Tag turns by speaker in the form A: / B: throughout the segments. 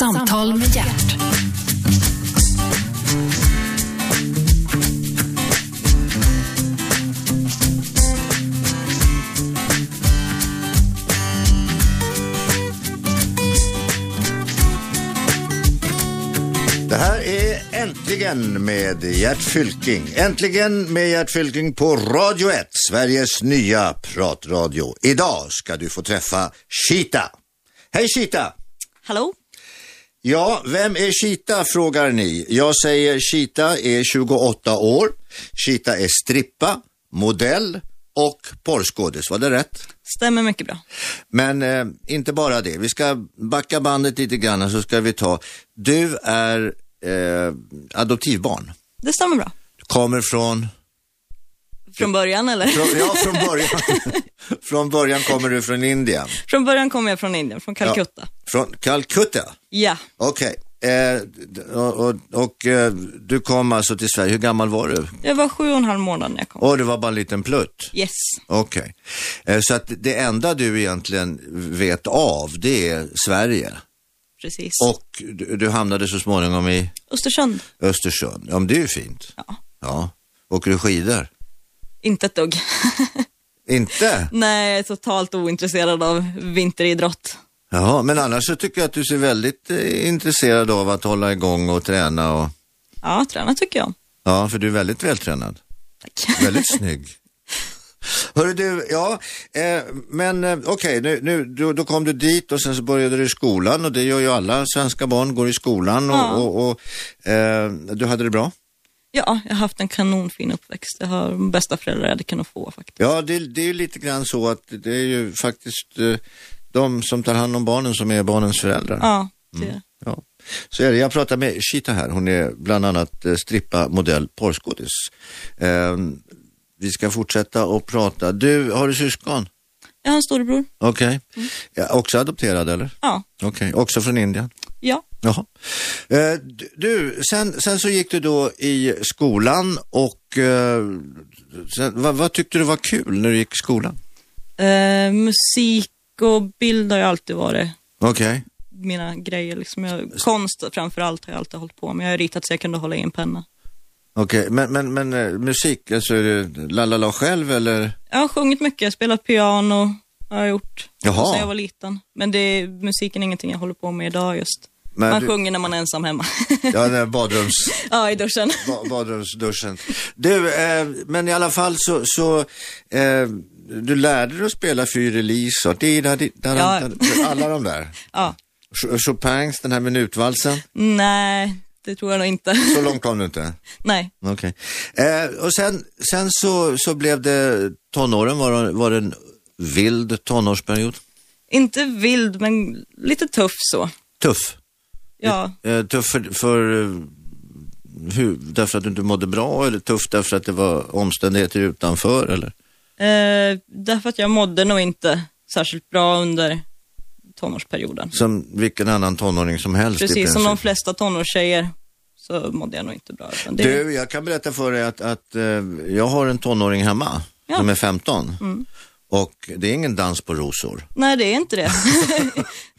A: Samtal med hjärt.
B: Det här är Äntligen med Gert Fylking. Äntligen med Gert Fylking på Radio 1, Sveriges nya pratradio. Idag ska du få träffa Chita. Hej Chita!
C: Hallå?
B: Ja, vem är Chita frågar ni. Jag säger Chita är 28 år. Chita är strippa, modell och porrskådis. Var det rätt?
C: Stämmer mycket bra.
B: Men eh, inte bara det. Vi ska backa bandet lite grann så ska vi ta. Du är eh, adoptivbarn.
C: Det stämmer bra.
B: Du kommer från...
C: Från början eller?
B: från ja, från början. från början kommer du från Indien.
C: Från början kommer jag från Indien, från Calcutta.
B: Ja, från Calcutta?
C: Ja,
B: Okej. Eh, d- och och, och eh, du kom alltså till Sverige. Hur gammal var du?
C: jag var sju och en halv månad när jag kom.
B: Åh, du var bara en liten plutt.
C: Yes.
B: Okej. Eh, så att det enda du egentligen vet av, det är Sverige.
C: Precis.
B: Och du, du hamnade så småningom i
C: Östersund?
B: Östersund. Ja, men det är ju fint.
C: Ja.
B: Ja. Åker du skidor?
C: Inte ett dugg.
B: Inte?
C: Nej, jag är totalt ointresserad av vinteridrott.
B: Jaha, men annars så tycker jag att du ser väldigt eh, intresserad av att hålla igång och träna och...
C: Ja, träna tycker jag om.
B: Ja, för du är väldigt vältränad.
C: Tack.
B: Väldigt snygg. Hörru du, ja, eh, men eh, okej, nu, nu, då, då kom du dit och sen så började du i skolan och det gör ju alla svenska barn, går i skolan och,
C: Ja.
B: och, och eh, du hade det bra?
C: Ja, jag har haft en kanonfin uppväxt. Jag har de bästa föräldrar jag hade kunnat få faktiskt.
B: Ja, det, det är ju lite grann så att det är ju faktiskt eh, de som tar hand om barnen som är barnens föräldrar.
C: Ja, det.
B: Ja. Så är det. Jag pratar med Chita här. Hon är bland annat eh, strippa, modell, porrskådis. Eh, vi ska fortsätta och prata. Du, har du syskon?
C: Jag har en storebror.
B: Okej. Ja, också adopterad eller?
C: Ja,
B: Okej, också från Indien?
C: ja.
B: Jaha. Eh, d- du, sen, sen så gick du då i skolan och eh, sen, vad, vad tyckte du var kul när du gick i skolan?
C: Eh, musik och bild har ju alltid varit
B: Okej.
C: mina grejer. Liksom jag, konst framför allt har jag alltid hållit på med. Jag har ritat så jag kunde hålla i en penna.
B: Okej, men, men, men eh, musik, alltså är det la la la själv eller?
C: Jag har sjungit mycket, jag har spelat piano, har jag gjort.
B: Jaha.
C: Sen jag var liten. Men det, är- musiken är ingenting jag håller på med idag just.
B: Men
C: man
B: du-
C: sjunger när man är ensam hemma.
B: Ja, den där badrums...
C: ja, i duschen.
B: Ba- Badrumsduschen. Du, eh, men i alla fall så, så eh, du lärde dig att spela fyrilis och di- da- di- da-
C: Ja.
B: da- da- alla de där.
C: Ja.
B: Ch- Chopins, den här minutvalsen,
C: Nej, det tror jag nog inte.
B: så långt kom du inte.
C: Nej,
B: Okej. Eh, och sen, sen så, så blev det tonåren, var det, var det en vild tonårsperiod?
C: inte vild men lite tuff så.
B: Tuff.
C: Ja,
B: Eh, tuff för, för eh, hur, därför att du inte mådde bra eller tuff därför att det var omständigheter utanför eller?
C: eh, därför att jag mådde nog inte särskilt bra under tonårsperioden.
B: Som vilken annan tonåring som helst i
C: Precis som de
B: princip.
C: flesta tonårstjejer så mådde jag nog inte bra. utan Det,
B: Du, jag kan berätta för dig att, att eh, jag har en tonåring hemma
C: Ja. Mm.
B: som är 15. Och det är ingen dans på rosor.
C: Nej, det är inte det.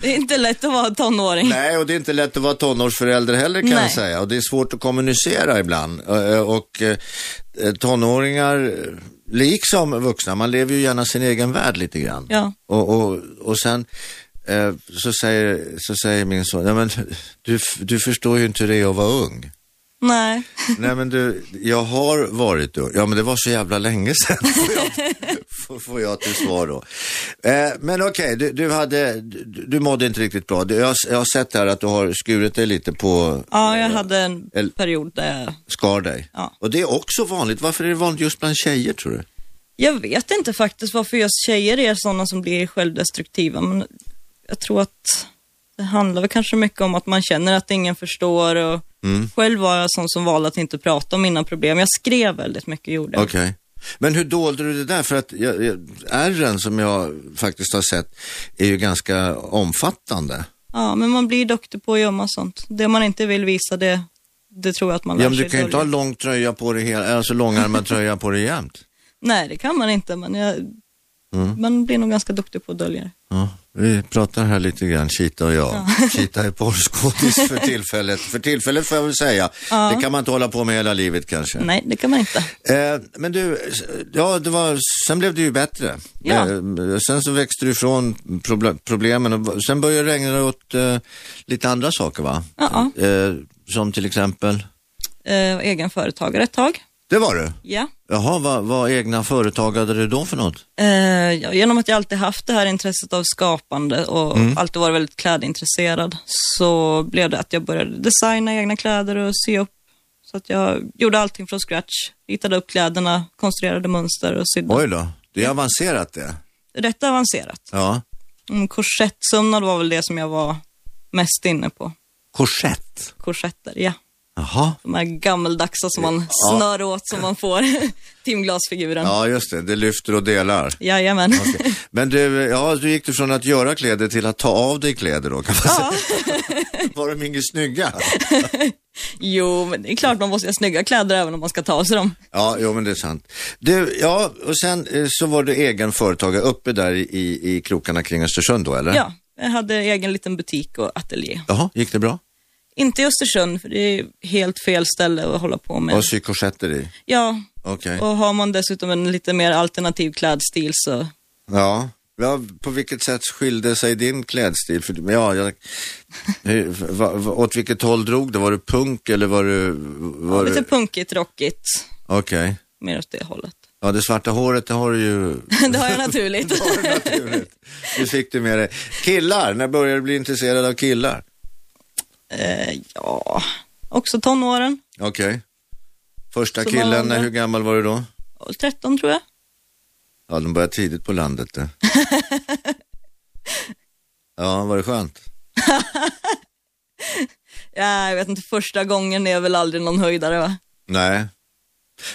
C: det är inte lätt att vara tonåring.
B: Nej, och det är inte lätt att vara tonårsförälder heller kan jag
C: Nej.
B: säga. Och det är svårt att kommunicera ibland. Eh, eh, Och eh, tonåringar, eh, liksom vuxna, man lever ju gärna sin egen värld lite grann.
C: Ja.
B: Och, och, och sen eh, så, säger, så säger min son, ja, men, du, du förstår ju inte hur det är att vara ung.
C: Nej.
B: Nej men du, jag har varit då. Ja men det var så jävla länge sedan. Får jag, får, får jag till svar då. Eh, men okej, du, du hade, du, du mådde inte riktigt bra. Du, jag, har- jag har sett här att du har skurit dig lite på,
C: Ja, jag hade en
B: El-
C: period där jag-
B: skar dig.
C: Ja.
B: Och det är också vanligt. Varför är det vanligt just bland tjejer tror du?
C: Jag vet inte faktiskt varför just tjejer är sådana som blir självdestruktiva, men jag tror att det handlar väl kanske mycket om att man känner att ingen förstår och
B: Mm.
C: själv var jag sån som valde att inte prata om mina problem. Jag skrev väldigt mycket, gjorde jag.
B: Okej. Men hur dolde du det där? För att jag- jag- ärren som jag faktiskt har sett är ju ganska omfattande.
C: Ja, men man blir duktig på att gömma sånt. Det man inte vill visa, det, det tror jag att man lär
B: Ja, men du
C: sig
B: kan ju
C: i
B: inte ha
C: början.
B: lång tröja på dig, hela- alltså långärmad tröja på dig jämt.
C: Nej, det kan man inte, men jag, man blir nog ganska duktig på att dölja det.
B: Ja, Vi pratar här lite grann, Kita och jag. Kita är porrskådis för tillfället. för tillfället får jag väl säga.
C: Ja.
B: Det kan man inte hålla på med hela livet kanske.
C: Nej, det kan man inte.
B: Eh, men du, s- ja, det var, sen blev det ju bättre.
C: Ja.
B: Eh, sen så växte du ifrån proble- problemen och sen började det regna åt eh, lite andra saker va?
C: Ja,
B: Eh, som till exempel?
C: Eh, var egen företagare ett tag.
B: Det var du?
C: Ja.
B: Jaha, vad, vad egna företag hade du då för något?
C: Eh, ja, genom att jag alltid haft det här intresset av skapande och alltid varit väldigt klädintresserad så blev det att jag började designa egna kläder och sy upp. Så att jag gjorde allting från scratch, hittade upp kläderna, konstruerade mönster och sydde.
B: Oj då, det är avancerat det.
C: Rätt avancerat.
B: Ja.
C: Mm, korsettsömnad var väl det som jag var mest inne på.
B: Korsett.
C: Korsetter, ja.
B: Jaha.
C: De här gammeldagsa som man snör åt som man får timglasfiguren. Ja.
B: Ja, just det, det lyfter och delar.
C: Jajamän.
B: Men du, ja, du gick du från att göra kläder till att ta av dig kläder då kan man säga.
C: Ja.
B: Var de inget snygga?
C: Jo, men det är klart man måste ha snygga kläder även om man ska ta sig dem.
B: Ja, jo, men det är sant. Du, ja, och sen eh, så var du egen företagare uppe där i, i krokarna kring Östersund då, eller?
C: Ja, jag hade egen liten butik och ateljé.
B: Jaha, gick det bra?
C: Inte i Östersund, för det är helt fel ställe att hålla på med.
B: Och sy korsetter i?
C: Ja,
B: Okej.
C: och har man dessutom en lite mer alternativ klädstil så...
B: Ja. ja. På vilket sätt skilde sig din klädstil? För, ja, jag, hur, va, va, åt vilket håll drog det? Var du punk eller var du... Var
C: Lite
B: du...
C: punkigt, rockigt,
B: Okej.
C: mer åt det hållet.
B: Ja, det svarta håret, det har du ju
C: det har jag naturligt.
B: naturligt. Det fick du med dig. Killar, när började du bli intresserad av killar?
C: eh, ja, också tonåren.
B: Okej. Första
C: Som alla
B: killen,
C: andra.
B: när, hur gammal var du då?
C: Och 13 tror jag.
B: Ja, de började tidigt på landet det. Ja, var det skönt?
C: Ja, jag vet inte, första gången är väl aldrig någon höjdare va?
B: Nej.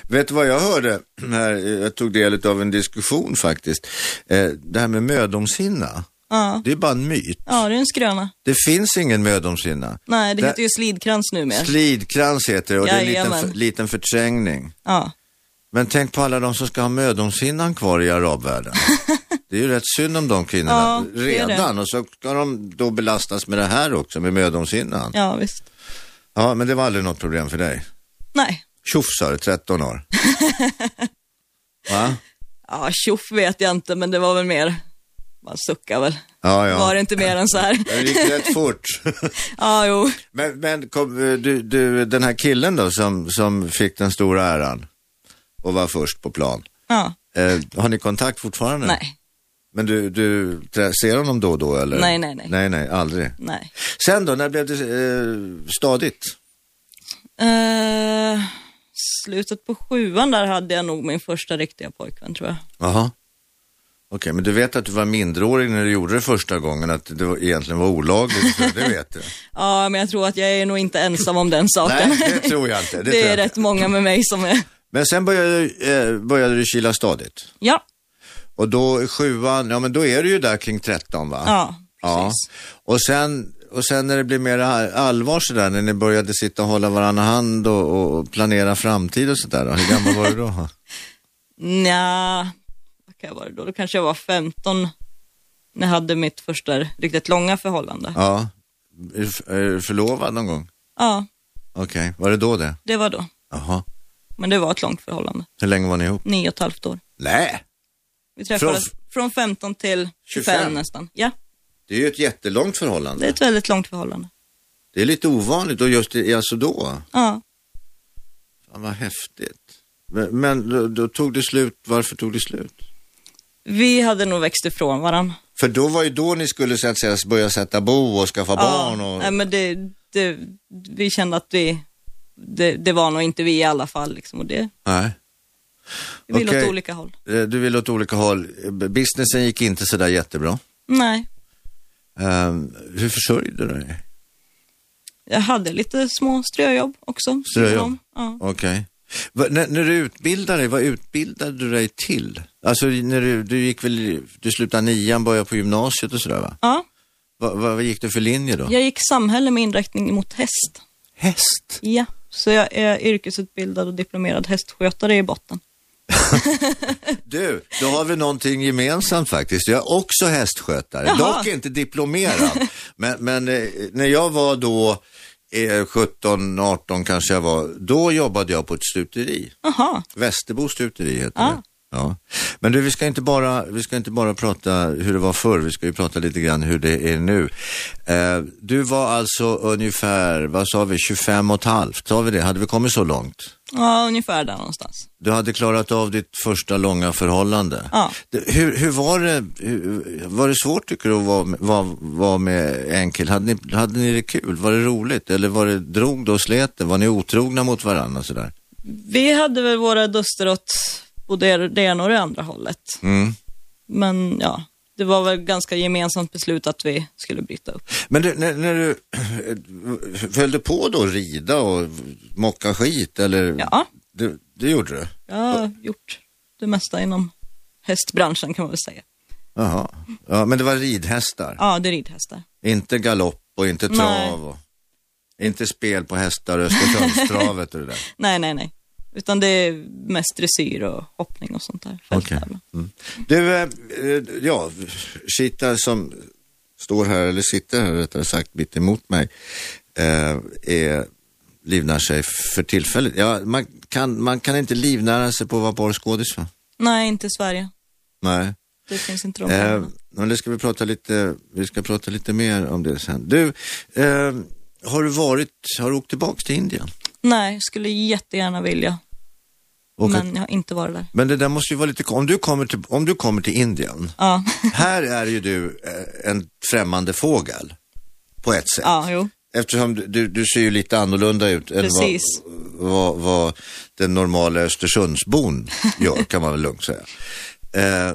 B: Vet du vad jag hörde? Här, eh, jag tog del av en diskussion faktiskt. Eh, Det här med mödomshinna,
C: Ja,
B: det är bara en myt.
C: ja det är en skröna.
B: Det finns ingen mödomshinna.
C: Nej, det,
B: Det-
C: heter ju slidkrans numera.
B: Slidkrans heter det och det är en liten,
C: Jajamän.
B: för- liten förträngning.
C: ja.
B: Men tänk på alla de som ska ha mödomshinnan kvar i arabvärlden. Det är ju rätt synd om de kvinnorna
C: Ja, det är det.
B: redan och så ska de då belastas med det här också, med mödomshinnan. Ja.
C: ja, visst.
B: men det var aldrig något problem för dig.
C: Nej.
B: Tjoff sa du, 13 år. Va?
C: Ja, tjoff vet jag inte, men det var väl mer, man suckar väl.
B: Ja, ja.
C: Var det inte mer än så här?
B: Det gick rätt fort.
C: Ja, jo.
B: men men kom, eh, du, du, den här killen då som, som fick den stora äran och var först på plan.
C: Ja,
B: Eh, har ni kontakt fortfarande?
C: nej,
B: Men du, du trä- ser honom då och då eller?
C: Nej, nej, nej.
B: Nej, nej, aldrig.
C: nej.
B: Sen då, när blev det eh, stadigt?
C: Eh, slutet på sjuan där hade jag nog min första riktiga pojkvän tror jag.
B: Jaha. Okej, men du vet att du var minderårig när du gjorde det första gången, att det var, egentligen var olagligt, för det vet du.
C: Ja, men jag tror att jag är nog inte ensam om den saken.
B: Nej, det tror jag inte. Det tror
C: det är
B: jag.
C: rätt
B: inte.
C: många med mig som är...
B: Men sen började, eh, började du kila stadigt.
C: Ja,
B: Och då i sjuan, ja men då är du ju där kring 13 va?
C: ja,
B: Ja.
C: precis.
B: Och sen, och sen när det blev mer allvar sådär, när ni började sitta och hålla varandra hand och, och planera framtid och sådär då, hur gammal var du då?
C: Nja, vad kan jag vara då? Då kanske jag var 15 när jag hade mitt första riktigt långa förhållande. Ja,
B: Ja. Är du f- Är du förlovad någon gång? Okej, var det då det?
C: det var då.
B: Jaha.
C: Men det var ett långt förhållande.
B: Hur länge var ni ihop?
C: Nio och ett halvt år.
B: Nej,
C: Vi träffades från, 15 till 25,
B: 25.
C: nästan. Ja,
B: det är ju ett jättelångt förhållande.
C: det är ett väldigt långt förhållande.
B: Det är lite ovanligt och just i, alltså då.
C: Ja.
B: Fan vad häftigt. Men, men då, då tog det slut, varför tog det slut?
C: Vi hade nog växt ifrån varandra.
B: För då var ju då ni skulle så att säga börja sätta bo och skaffa barn och...
C: Nej, men det, det, vi kände att vi, det, det var nog inte vi i alla fall. Liksom, och det,
B: Nej.
C: vi ville
B: Okej.
C: åt olika håll.
B: Eh, Du ville åt olika håll. Eh, b- Businessen gick inte sådär jättebra.
C: Nej,
B: Um, hur försörjde du dig?
C: jag hade lite små ströjobb också.
B: Ströjobb?
C: Ja.
B: Okej. Va- När, när du utbildade dig, vad utbildade du dig till? Alltså när du, du gick väl, i- du slutade nian, började på gymnasiet och sådär va?
C: ja,
B: Vad va, vad gick du för linje då?
C: jag gick samhälle med inriktning mot häst.
B: Häst?
C: Ja, så jag är yrkesutbildad och diplomerad hästskötare i botten.
B: Du, då har vi någonting gemensamt faktiskt. Jag är också hästskötare,
C: Jaha.
B: dock inte diplomerad. Men, men eh, när jag var då eh, 17, 18 kanske jag var, då jobbade jag på ett stuteri.
C: Jaha,
B: Västerbo stuteri heter
C: Ja.
B: det. Ja. Men du, vi ska, inte bara, vi ska inte bara prata hur det var förr, vi ska ju prata lite grann hur det är nu. Eh, du var alltså ungefär, vad sa vi, 25 och ett halvt, sa vi det? Hade vi kommit så långt?
C: ja, ungefär där någonstans.
B: Du hade klarat av ditt första långa förhållande.
C: Ja.
B: Det- Hur, hur var det, hur, var det svårt tycker du att vara, med- vara, vara med en kille? Hade ni, hade ni det kul? Var det roligt? Eller var det drog det och slet det? Var ni otrogna mot varandra och sådär?
C: Vi hade väl våra duster åt både det ena och det andra hållet.
B: Mm.
C: Men ja, det var väl ganska gemensamt beslut att vi skulle bryta upp.
B: Men du, när, när du följde på då att rida och mocka skit eller?
C: Ja,
B: Det, det gjorde du?
C: jag har gjort det mesta inom hästbranschen kan man väl säga.
B: Jaha. Ja, men det var ridhästar?
C: Ja, det är ridhästar.
B: Inte galopp och inte
C: Nej.
B: trav och inte spel på hästar och Östersundstravet och det där?
C: Nej, nej, nej. Utan det är mest dressyr och hoppning och sånt där. Fälttävlan.
B: Mm. Du, eh, eh, ja, Shita som står här, eller sitter här rättare sagt, mitt emot mig, eh, är, livnär sig för tillfället. Ja, man, kan, man kan inte livnära sig på att vara porrskådis va?
C: Nej, inte i Sverige.
B: Nej.
C: Det finns inte de
B: Eh,
C: pengarna.
B: men det ska vi, prata lite, vi ska prata lite mer om det sen. Du, eh, har du varit, har du åkt tillbaka till Indien?
C: Nej, skulle jättegärna vilja.
B: Och att-
C: Men jag har inte varit där.
B: men det där måste ju vara lite, om du kommer till, om du kommer till Indien,
C: Ja,
B: Här är ju du eh, en främmande fågel på ett sätt.
C: ja jo.
B: Eftersom du, du, du ser ju lite annorlunda ut än vad,
C: Precis.
B: vad, vad den normala Östersundsbon gör kan man väl lugnt säga. Eh,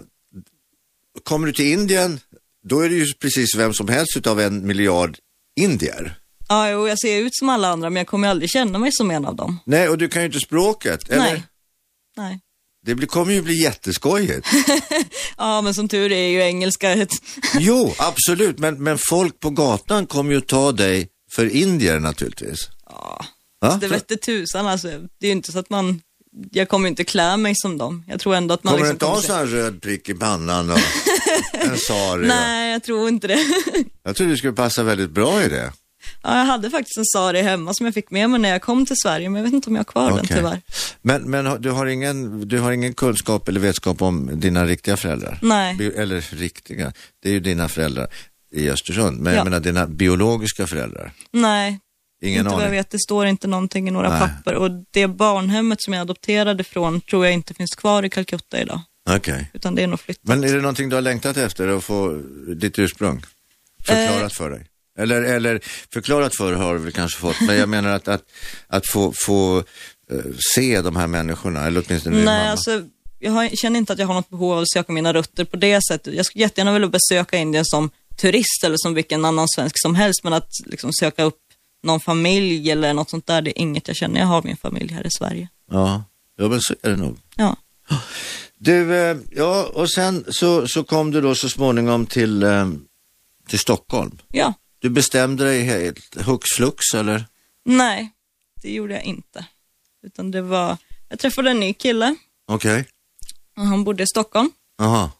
B: kommer du till Indien, då är det ju precis vem som helst utav en miljard indier.
C: Ja, jo, jag ser ut som alla andra, men jag kommer ju aldrig känna mig som en av dem.
B: Nej, och du kan ju inte språket. Eller?
C: Nej. Nej.
B: Det blir, kommer ju bli jätteskojigt.
C: Ja, men som tur är ju engelska ett...
B: jo, absolut, men, men folk på gatan kommer ju ta dig för indier naturligtvis.
C: Ja,
B: Va?
C: det vette tusan alltså. Det är ju inte så att man... Jag kommer ju inte klä mig som dem. Jag tror ändå att man
B: Kommer du
C: liksom...
B: inte ha en
C: se-
B: sån här röd prick i pannan och en sari?
C: Nej, jag tror inte det.
B: Jag tror du skulle passa väldigt bra i det.
C: Ja, jag hade faktiskt en sari hemma som jag fick med mig när jag kom till Sverige, men jag vet inte om jag har kvar den
B: Okej.
C: tyvärr.
B: Men, men har- du, har ingen, du har ingen kunskap eller vetskap om dina riktiga föräldrar?
C: Nej.
B: Bi- eller riktiga, det är ju dina föräldrar i Östersund. Men
C: Ja.
B: jag menar dina biologiska föräldrar?
C: Nej,
B: Ingen
C: inte vad jag
B: aning?
C: vet. Det står inte någonting i några
B: Nej.
C: papper och det barnhemmet som jag adopterade från tror jag inte finns kvar i Calcutta idag,
B: Okej.
C: utan det är nog flytt.
B: Men är det någonting du har längtat efter att få ditt ursprung förklarat
C: Eh.
B: för dig? Eller, eller förklarat för har du väl kanske fått, men jag menar att, att, att få, få eh, se de här människorna, eller åtminstone din
C: Nej,
B: mamma.
C: alltså jag har, känner inte att jag har något behov av att söka mina rötter på det sättet. Jag skulle jättegärna vilja besöka Indien som turist eller som vilken annan svensk som helst, men att liksom söka upp någon familj eller något sånt där, det är inget jag känner. Jag har min familj här i Sverige.
B: Ja, ja men så är det nog.
C: Ja.
B: Du, eh, ja och sen så, så kom du då så småningom till, eh, till Stockholm.
C: ja.
B: Du bestämde dig helt hux flux eller?
C: Nej, det gjorde jag inte. Utan det var, jag träffade en ny kille
B: Okej.
C: och han bodde i Stockholm.
B: Jaha,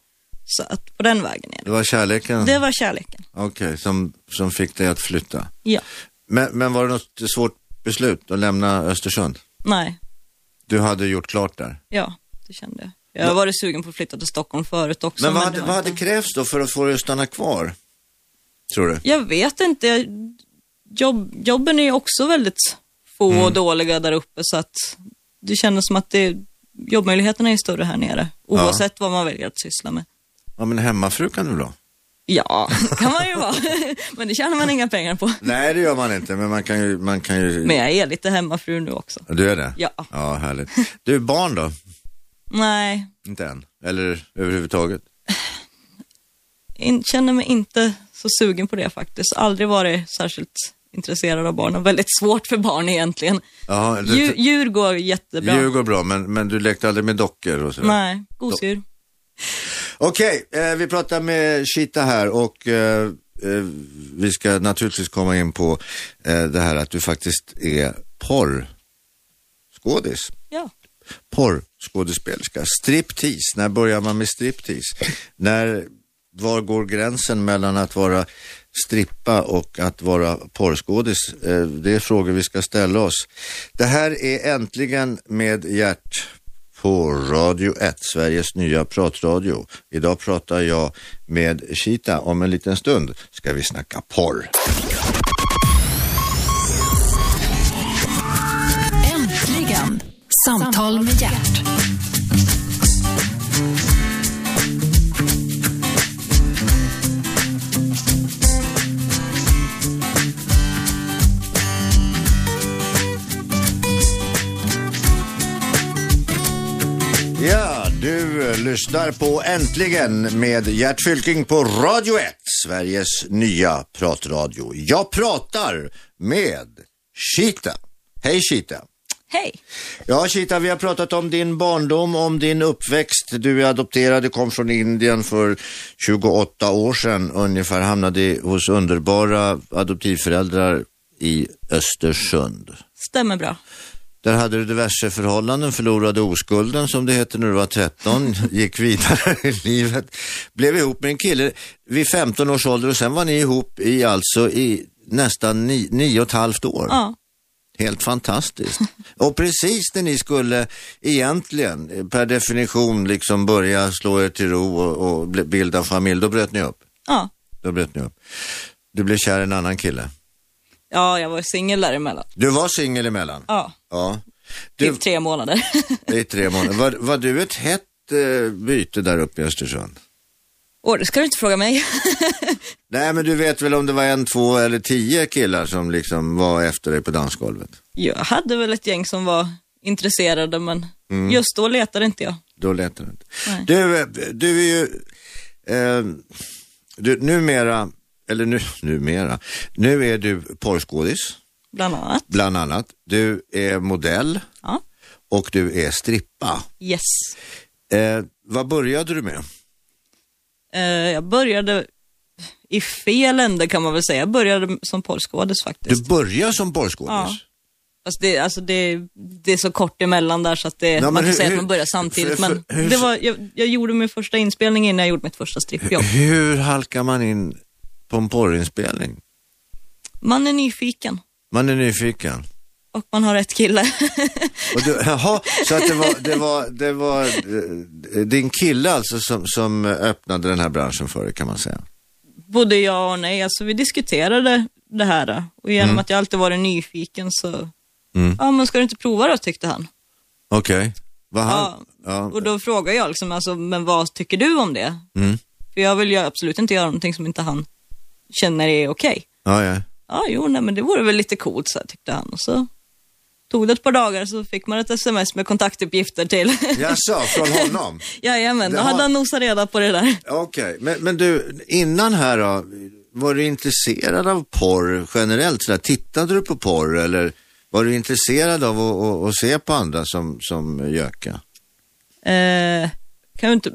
C: Så att på den vägen är det.
B: det var kärleken?
C: Det var kärleken.
B: Okej, som, som fick dig att flytta.
C: Ja.
B: Men, men var det något svårt beslut att lämna Östersund?
C: Nej,
B: Du hade gjort klart där.
C: ja, det kände jag. Jag har varit sugen på att flytta till Stockholm förut också.
B: Men vad
C: det
B: hade,
C: var
B: vad
C: inte-
B: hade krävts då för att få dig att stanna kvar? Tror du?
C: Jag vet inte. Jag- Jobb, jobben är ju också väldigt få
B: Mm.
C: och dåliga där uppe så att det kändes som att det, jobbmöjligheterna är större här nere. Oavsett vad man väljer att syssla med.
B: Ja, men hemmafru kan du väl ha?
C: Ja, det kan man ju vara. Men det tjänar man inga pengar på.
B: Nej, det gör man inte, men man kan ju... Man kan ju...
C: Men jag är lite hemmafru nu också.
B: Du är det?
C: Ja.
B: Ja, härligt. Du, barn då?
C: Nej,
B: Inte än? Eller överhuvudtaget?
C: in, känner mig inte så sugen på det faktiskt. Aldrig varit särskilt intresserad av barn och väldigt svårt för barn egentligen.
B: Ja, du,
C: Djur, djur går jättebra.
B: djur går bra, men, men du lekte aldrig med dockor och sådär?
C: Nej, gosedjur.
B: Okej, eh, vi pratar med Shita här och eh, eh, vi ska naturligtvis komma in på eh, det här att du faktiskt är porrskådis.
C: Ja.
B: Porrskådis. skådespelerska. Striptease, när börjar man med striptease? när, var går gränsen mellan att vara strippa och att vara porrskådis? Eh, Det är frågor vi ska ställa oss. Det här är äntligen med Gert på Radio 1, Sveriges nya pratradio. Idag pratar jag med Kita. Om en liten stund ska vi snacka porr.
A: Äntligen! Samtal med hjärt.
B: Ja, du eh, lyssnar på Äntligen med Gert Fylking på Radio 1, Sveriges nya pratradio. Jag pratar med Kita. Hej Kita.
C: Hej!
B: Ja, Chita, vi har pratat om din barndom, om din uppväxt. Du är adopterad, du kom från Indien för 28 år sedan ungefär, hamnade hos underbara adoptivföräldrar i Östersund.
C: Stämmer bra.
B: Där hade du diverse förhållanden, förlorade oskulden som det heter när du var 13, gick vidare i livet, blev ihop med en kille vid 15 års ålder och sen var ni ihop i alltså i nästan ni, nio och ett halvt år.
C: Ja,
B: Helt fantastiskt. Och precis när ni skulle egentligen eh, per definition liksom börja slå er till ro och, och bli- bilda familj, då bröt ni upp.
C: ja.
B: Då bröt ni upp. Du blev kär i en annan kille.
C: ja jag var singel däremellan.
B: Du var singel emellan?
C: Ja,
B: Ja.
C: typ
B: Du,
C: tre månader.
B: I tre månader. Var, var du ett hett eh, byte där uppe i Östersund?
C: Åh, det ska du inte fråga mig.
B: Nej, men du vet väl om det var en, två eller tio killar som liksom var efter dig på dansgolvet?
C: Jag hade väl ett gäng som var intresserade, men
B: Mm.
C: just då letade inte jag.
B: Då lät det inte.
C: Nej.
B: Du, eh, du är ju, eh, du, numera, eller nu, numera, nu är du porrskådis,
C: Bland annat.
B: bland annat. Du är modell
C: Ja.
B: och du är strippa.
C: Yes.
B: Eh, vad började du med?
C: Eh, jag började i fel ände kan man väl säga. Jag började som porrskådis faktiskt.
B: Du började som porrskådis?
C: Ja. Alltså det, alltså det, det är så kort emellan där så att det,
B: Ja, men
C: man kan
B: hur-
C: säga
B: hur-
C: att man börjar samtidigt.
B: för-
C: men
B: för- hur-
C: det var, jag, jag gjorde min första inspelning innan jag gjorde mitt första strippjobb.
B: Hur halkar man in på en porrinspelning?
C: Man är nyfiken
B: Man är nyfiken.
C: och man har rätt kille.
B: Och du, jaha, så att det var, det var, det var eh, din kille alltså som, som öppnade den här branschen för dig kan man säga?
C: Både ja och nej. Alltså vi diskuterade det här och genom att jag alltid varit nyfiken så,
B: Mm.
C: ja men ska du inte prova då tyckte han.
B: Okej. Vad han?
C: Ja.
B: Ja.
C: Och då frågade jag liksom, alltså, men vad tycker du om det?
B: Mm.
C: För jag vill ju absolut inte göra någonting som inte han känner är okej.
B: ja, ja.
C: ja, jo, nej, men det vore väl lite coolt, så här, tyckte han. Och så tog det ett par dagar så fick man ett sms med kontaktuppgifter till.
B: Jaså, från honom?
C: Jajamän, då
B: Det har-
C: hade han nosat reda på det där.
B: Okej, men, men du, innan här då, var du intresserad av porr generellt? Sådär, tittade du på porr eller var du intresserad av att, att, att se på andra som, som göka?
C: Eh, kan ju inte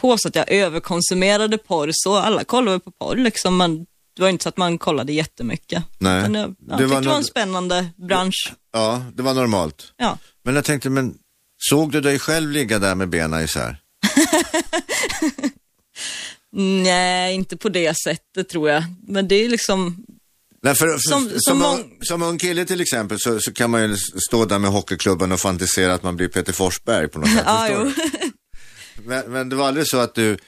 C: påstå att jag överkonsumerade porr, så alla kollade väl på porr liksom, men det var inte så att man kollade jättemycket.
B: Nej.
C: Men jag, jag
B: Det
C: tyckte
B: var
C: det var
B: nog-
C: en spännande bransch.
B: Ja, det var normalt.
C: Ja.
B: Men jag tänkte, men såg du dig själv ligga där med benen isär?
C: Nej, inte på det sättet tror jag. Men det är liksom,
B: Nej, för, för,
C: Som-
B: som,
C: som
B: ung-
C: mång-
B: som ung kille till exempel så, så kan man ju stå där med hockeyklubban och fantisera att man blir Peter Forsberg på något sätt.
C: ja
B: förstår
C: jo.
B: du? Men, men det var aldrig så att du,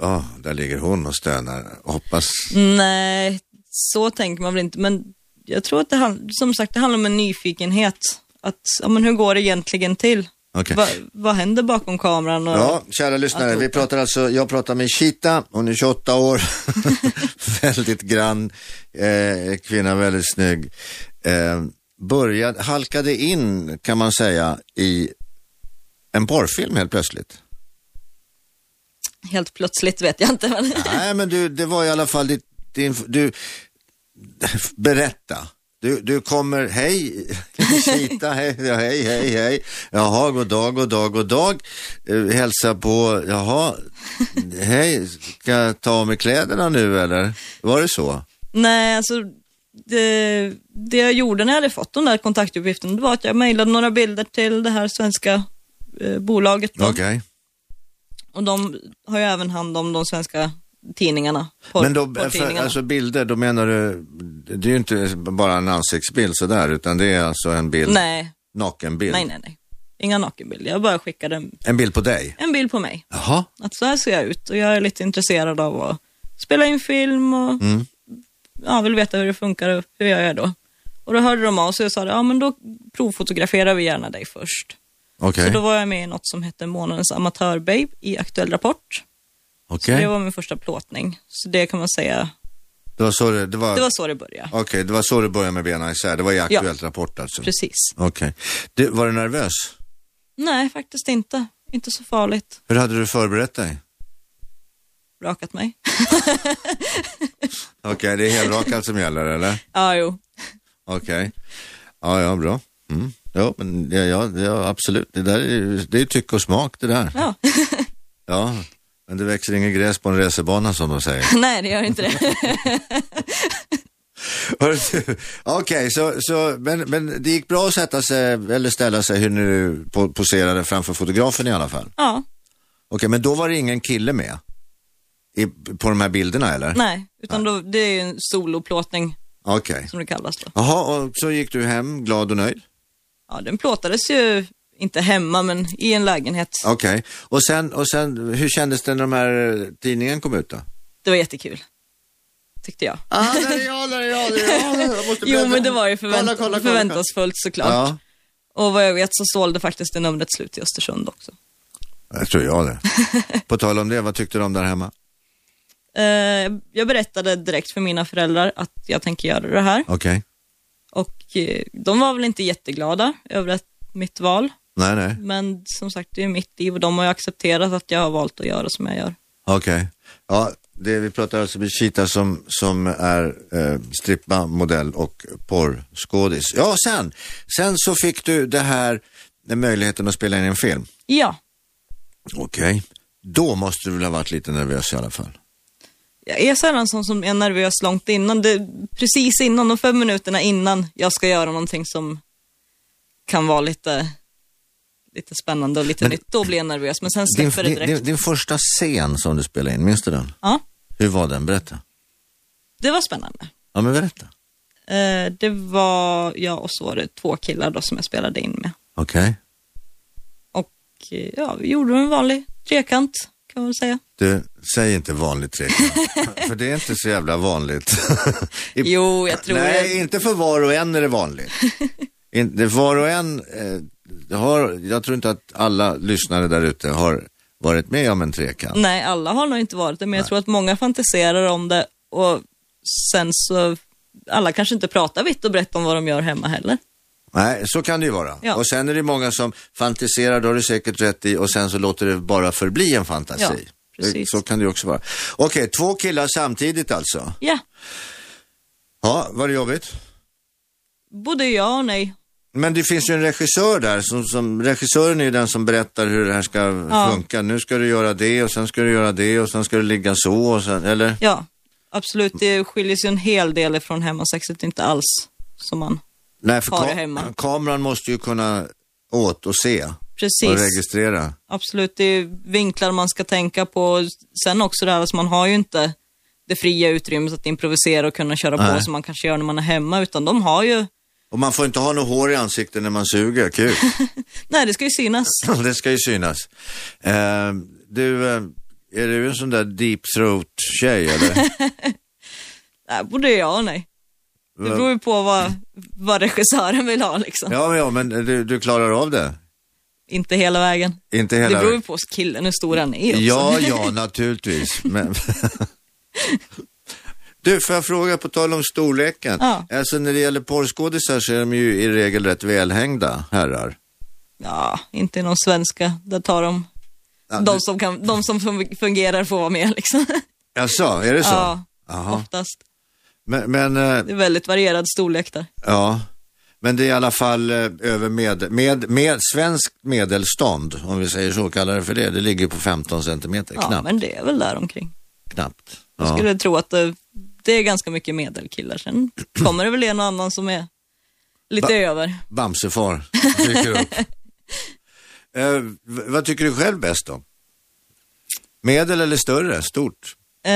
B: ja, där ligger hon och stönar, hoppas.
C: Nej, så tänker man väl inte. Men jag tror att det, hand- som sagt, det handlar om en nyfikenhet. Att, ja, men hur går det egentligen till?
B: Okej.
C: Va, vad händer bakom kameran? Och,
B: Ja, kära lyssnare, vi pratar alltså, jag pratar med Chita, hon är 28 år, väldigt grann eh, kvinna, väldigt snygg. Eh, började, halkade in kan man säga i en porrfilm helt plötsligt.
C: Helt plötsligt vet jag inte. Men,
B: Nej, men du, det var i alla fall ditt, din, du, berätta. Du, du kommer, hej, Kita, hej, ja, hej, hej, hej. Jaha, god dag, god dag, god dag. Eh, Hälsa på, jaha, hej, ska jag ta av mig kläderna nu eller? Var det så?
C: nej, alltså det, det jag gjorde när jag hade fått de där kontaktuppgifterna det var att jag mejlade några bilder till det här svenska eh, bolaget. Då.
B: Okej.
C: Och de har ju även hand om de svenska tidningarna. Porr,
B: Men då, för,
C: porrtidningarna.
B: alltså bilder, då menar du, det är ju inte bara en ansiktsbild sådär, utan det är alltså en bild,
C: nej,
B: nakenbild.
C: nej, nej, nej. Inga nakenbilder. Jag bara skickade en-
B: En bild på dig?
C: en bild på mig.
B: Jaha,
C: Att så här ser jag ut och jag är lite intresserad av att spela in film och
B: Mm.
C: ja, vill veta hur det funkar och hur jag gör då. Och då hörde de av sig och sa det, ja men då provfotograferar vi gärna dig först.
B: okej.
C: Så då var jag med i något som hette Månadens amatörbabe i Aktuell Rapport. Så
B: Okej,
C: det var min första plåtning. Så det kan man säga,
B: det var så det, det var,
C: det var så det började.
B: okej, det var så det började med benen isär, det var i Aktuellt Rapport alltså.
C: Precis.
B: Okej. Du, Var du nervös?
C: Nej, faktiskt inte. Inte så farligt.
B: Hur hade du förberett dig?
C: Rakat mig.
B: Okej, det är helrakat som gäller eller?
C: Ja, jo.
B: Okej. Ja, ja, bra. Mm. Ja, men ja, ja, ja, absolut. Det där är ju- det är tyck och smak det där.
C: Ja.
B: Ja, men det växer ingen gräs på en racerbana som de säger.
C: Nej, det gör inte det.
B: Hör du, Okej, så, så, men, men det gick bra att sätta sig, eller ställa sig hur nu po- poserade framför fotografen i alla fall. Okej,
C: Ja,
B: men då var det ingen kille med? I, på de här bilderna eller?
C: nej. Utan då, det är ju en soloplåtning
B: Okej.
C: som det kallas då.
B: Jaha, och så gick du hem glad och nöjd?
C: Ja, den plåtades ju, inte hemma, men i en lägenhet.
B: Okej, och, sen, och sen, hur kändes det när de här eh, tidningen kom ut då?
C: Det var jättekul, tyckte jag.
B: Ah, där är jag, där är jag, där är jag. jag måste
C: Jo,
B: bläddra.
C: men det var ju förvänt-
B: Kolla, kolla, kolla.
C: förväntansfullt såklart.
B: Ja,
C: Och vad jag vet så sålde faktiskt det numret slut i Östersund också.
B: jag tror jag det. På tal om det, vad tyckte de där hemma?
C: Eh, jag berättade direkt för mina föräldrar att jag tänker göra det här.
B: Okej,
C: Och eh, de var väl inte jätteglada över att mitt val.
B: nej, nej.
C: Men som sagt, det är ju mitt liv och de har ju accepterat att jag har valt att göra som jag gör.
B: Okej. Ja, det vi pratar alltså med Chita som, som är eh, strippa, modell och porrskådis. Ja, sen, sen så fick du det här den möjligheten att spela in en film.
C: Ja,
B: Okej. Då måste du väl ha varit lite nervös i alla fall?
C: jag är sällan sån som är nervös långt innan. Det, precis innan, de fem minuterna innan jag ska göra någonting som kan vara lite, lite spännande och lite
B: Men-
C: nytt, då blir jag nervös. Men sen
B: Din,
C: släpper det
B: din,
C: direkt.
B: din, din första scen som du spelade in, minns du den?
C: Ja,
B: Hur var den? Berätta.
C: det var spännande.
B: Ja, men berätta.
C: Eh, det var jag och så var det två killar då som jag spelade in med.
B: Okej.
C: Och eh, ja, vi gjorde en vanlig trekant kan man väl säga.
B: Du, säg inte vanligt trekant. för det är inte så jävla vanligt. I
C: Jo, jag tror
B: Nej,
C: det.
B: inte för var och en är det vanligt. inte var och en, eh, det har, jag tror inte att alla lyssnare där ute har varit med om en trekant.
C: Nej, alla har nog inte varit det, men jag tror att många fantiserar om det och sen så, alla kanske inte pratar vitt och brett om vad de gör hemma heller.
B: Nej, så kan det ju vara.
C: Ja.
B: Och sen är det många som fantiserar, då har du säkert rätt i, och sen så låter det bara förbli en fantasi.
C: Ja, precis.
B: Så kan det ju också vara. Okej, två killar samtidigt alltså.
C: Ja,
B: Ja, var det jobbigt?
C: både ja och nej.
B: Men det finns ju en regissör där, som, som, regissören är ju den som berättar hur det här ska
C: Ja.
B: funka. Nu ska du göra det och sen ska du göra det och sen ska du ligga så och sen, eller?
C: Ja, absolut. Det skiljer sig en hel del från hemmasexet, inte alls som man.
B: Nej, för
C: Har det
B: ka-
C: hemma.
B: kameran måste ju kunna åt och se och
C: Precis,
B: registrera.
C: absolut. Det är vinklar man ska tänka på. Sen också det här, alltså man har ju inte det fria utrymmet att improvisera och kunna köra på
B: Nej.
C: som man kanske gör när man är hemma, utan de har ju,
B: Och man får inte ha något hår i ansiktet när man suger, kul.
C: nej det ska ju synas.
B: det ska ju synas. Eh, du, eh, är du en sån där deep throat-tjej eller?
C: Nej, både ja och nej. Det beror ju på vad, vad regissören vill ha liksom.
B: ja, men- ja, men du, du klarar av det?
C: Inte hela vägen.
B: Inte hela
C: det beror ju på killen hur stor han är också.
B: Ja, ja, naturligtvis. Men... Du, får jag fråga på tal om storleken?
C: Ja.
B: Alltså när det gäller porrskådisar så är de ju i regel rätt välhängda herrar.
C: Ja, inte någon svenska. Där tar de
B: Ja,
C: de, som kan, de som fun- fungerar får vara med liksom.
B: Jaså, är det så?
C: Ja,
B: Jaha.
C: oftast.
B: Men, men, eh,
C: Det är väldigt varierad storlek där.
B: ja. men det är i alla fall eh, över med, med, med svensk medelstånd, om vi säger så, kallar det för det. Det ligger på 15 centimeter,
C: Ja,
B: knappt.
C: men det är väl där omkring.
B: knappt.
C: Jag
B: Ja.
C: skulle tro att det, det är ganska mycket medelkillar. Sen kommer det väl en och annan som är lite
B: Va-
C: över.
B: Bamsefar dyker upp. Eh, v- vad tycker du själv bäst om? Medel eller större? Stort?
C: Eh,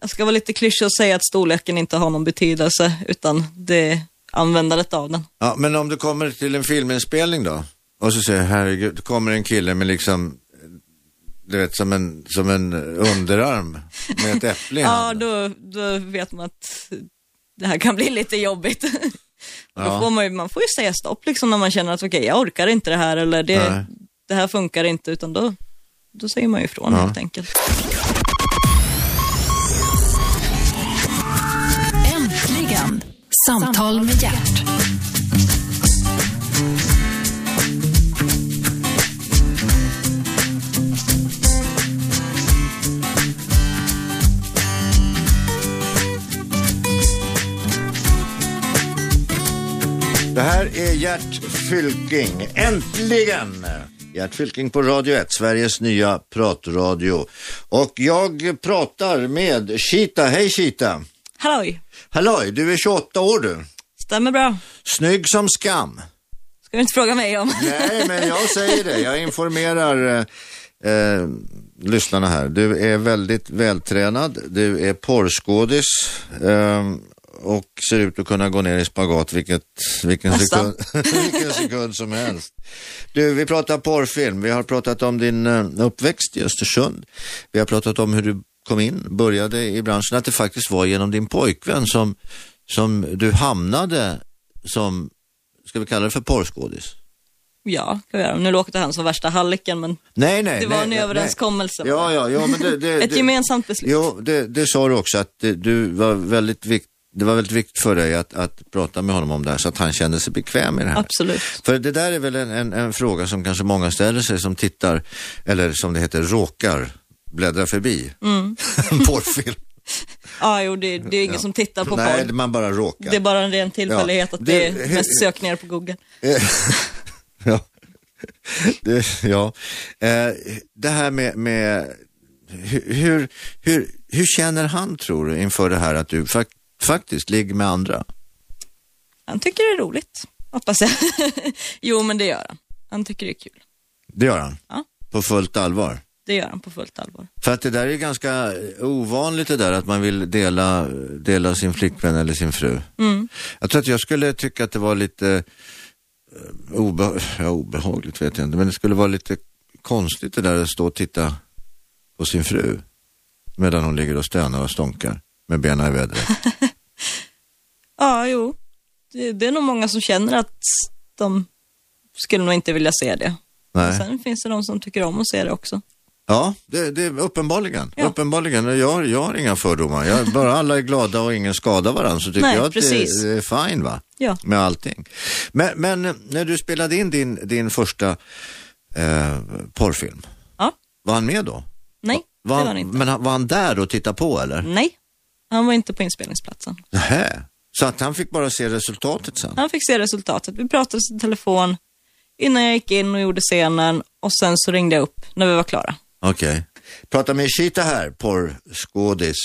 C: jag ska vara lite klyschig och säga att storleken inte har någon betydelse, utan det är användandet av den.
B: Ja, men om du kommer till en filminspelning då? Och så säger jag, herregud, då kommer en kille med liksom, du vet som en, som en underarm med ett äpple i
C: Ja,
B: handen.
C: då, då vet man att det här kan bli lite jobbigt.
B: Ja.
C: Då får man, ju, man får ju säga stopp liksom när man känner att okej, jag orkar inte det här eller
B: Nej.
C: det, det här funkar inte, utan då, då säger man ju ifrån
B: Ja.
C: helt enkelt.
A: Äntligen! Samtal med hjärt.
B: Det här är Gert Fylking, äntligen! Gert Fylking på Radio 1, Sveriges nya pratradio. Och jag pratar med Kita. Hej Kita!
C: Halloj,
B: Halloj, du är 28 år du.
C: stämmer bra.
B: Snygg som skam.
C: Ska du inte fråga mig om?
B: Nej, men jag säger det. Jag informerar eh, eh, lyssnarna här. Du är väldigt vältränad, du är porrskådis eh, och ser ut att kunna gå ner i spagat vilket, vilken, sekund,
C: Nästan.
B: vilken sekund som helst. Du, vi pratar porrfilm. Vi har pratat om din eh, uppväxt i Östersund. Vi har pratat om hur du kom in, började i branschen, att det faktiskt var genom din pojkvän som, som du hamnade som, ska vi kalla det för porrskådis?
C: Ja, kan vi göra. Nu låter han som värsta hallicken, men
B: Nej, nej.
C: Det var
B: nej,
C: en
B: nej,
C: överenskommelse.
B: nej. Ja, ja, ja, men det, det,
C: ett
B: det,
C: gemensamt beslut.
B: Jo, det, det sa du också att det, du var väldigt vikt, det var väldigt viktigt för dig att, att prata med honom om det här så att han kände sig bekväm i det här.
C: Absolut.
B: För det där är väl en, en, en fråga som kanske många ställer sig som tittar, eller som det heter, råkar bläddra förbi
C: Mm.
B: en porrfilm.
C: Ja, jo, det, det är ingen som tittar på
B: Nej,
C: porr.
B: man bara råkar.
C: Det är bara en ren tillfällighet
B: Ja,
C: att
B: det-
C: det är mest sökningar på Google.
B: Ja. Det, ja. Eh, det här med, med hu- hur, hur, hur känner han tror du inför det här att du fak- faktiskt ligger med andra?
C: Han tycker det är roligt, hoppas jag. jo, men det gör han. Han tycker det är kul.
B: Det gör han?
C: Ja.
B: På fullt allvar?
C: Det gör han på fullt allvar.
B: För att det där är ganska ovanligt det där att man vill dela, dela sin flickvän eller sin fru.
C: Mm.
B: Jag tror att jag skulle tycka att det var lite eh, obe- ja, obehagligt, vet jag inte, men det skulle vara lite konstigt det där att stå och titta på sin fru medan hon ligger och stönar och stånkar med benen i vädret.
C: Ja, jo. Det, det är nog många som känner att de skulle nog inte vilja se det.
B: Nej.
C: Sen finns det de som tycker om att se det också.
B: Ja, det, det är uppenbarligen.
C: Ja.
B: uppenbarligen. Jag, har- jag har inga fördomar. Jag, bara alla är glada och ingen skadar varandra så tycker
C: Nej,
B: jag att
C: precis.
B: det, det är fine va?
C: Ja.
B: med allting. Men, men när du spelade in din, din första eh, porrfilm,
C: ja.
B: var han med då?
C: Nej, det
B: Var
C: var
B: han,
C: han inte.
B: Men han, var han där och tittade på eller?
C: Nej, han var inte på inspelningsplatsen.
B: Nähä. Så att han fick bara se resultatet sen?
C: Han fick se resultatet. Vi pratade i telefon innan jag gick in och gjorde scenen och sen så ringde jag upp när vi var klara.
B: Okej. Prata med Shita här, porrskådis.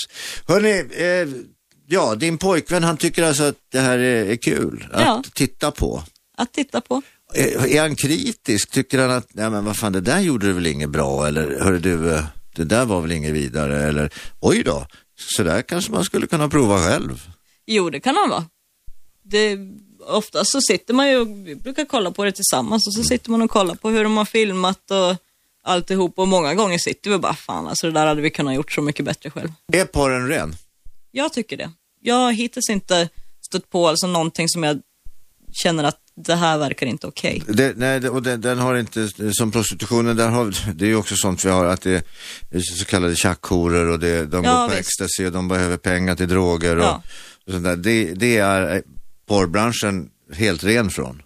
B: Hörni, eh, ja, din pojkvän han tycker alltså att det här är, är kul att
C: Ja.
B: titta på.
C: Att titta på.
B: Är, är han kritisk? Tycker han att, nej men vad fan, det där gjorde du väl inget bra eller hörru du, eh, det där var väl inget vidare eller oj då, så där kanske man skulle kunna prova själv.
C: Jo, det kan han vara. Det, oftast så sitter man ju, och- vi brukar kolla på det tillsammans och så sitter man och kollar på hur de har filmat och alltihop och många gånger sitter vi och bara fan alltså det där hade vi kunnat gjort så mycket bättre själv.
B: Är porren ren?
C: Jag tycker det. Jag har hittills inte stött på alltså någonting som jag känner att det här verkar inte okej.
B: Det, nej, det, och den, den har inte, som prostitutionen, där har, det är ju också sånt vi har, att det är så kallade tjackhoror och det, de
C: Ja,
B: går på
C: visst.
B: ecstasy och de behöver pengar till droger och,
C: Ja.
B: och sånt där. Det, det är eh, porrbranschen helt ren från.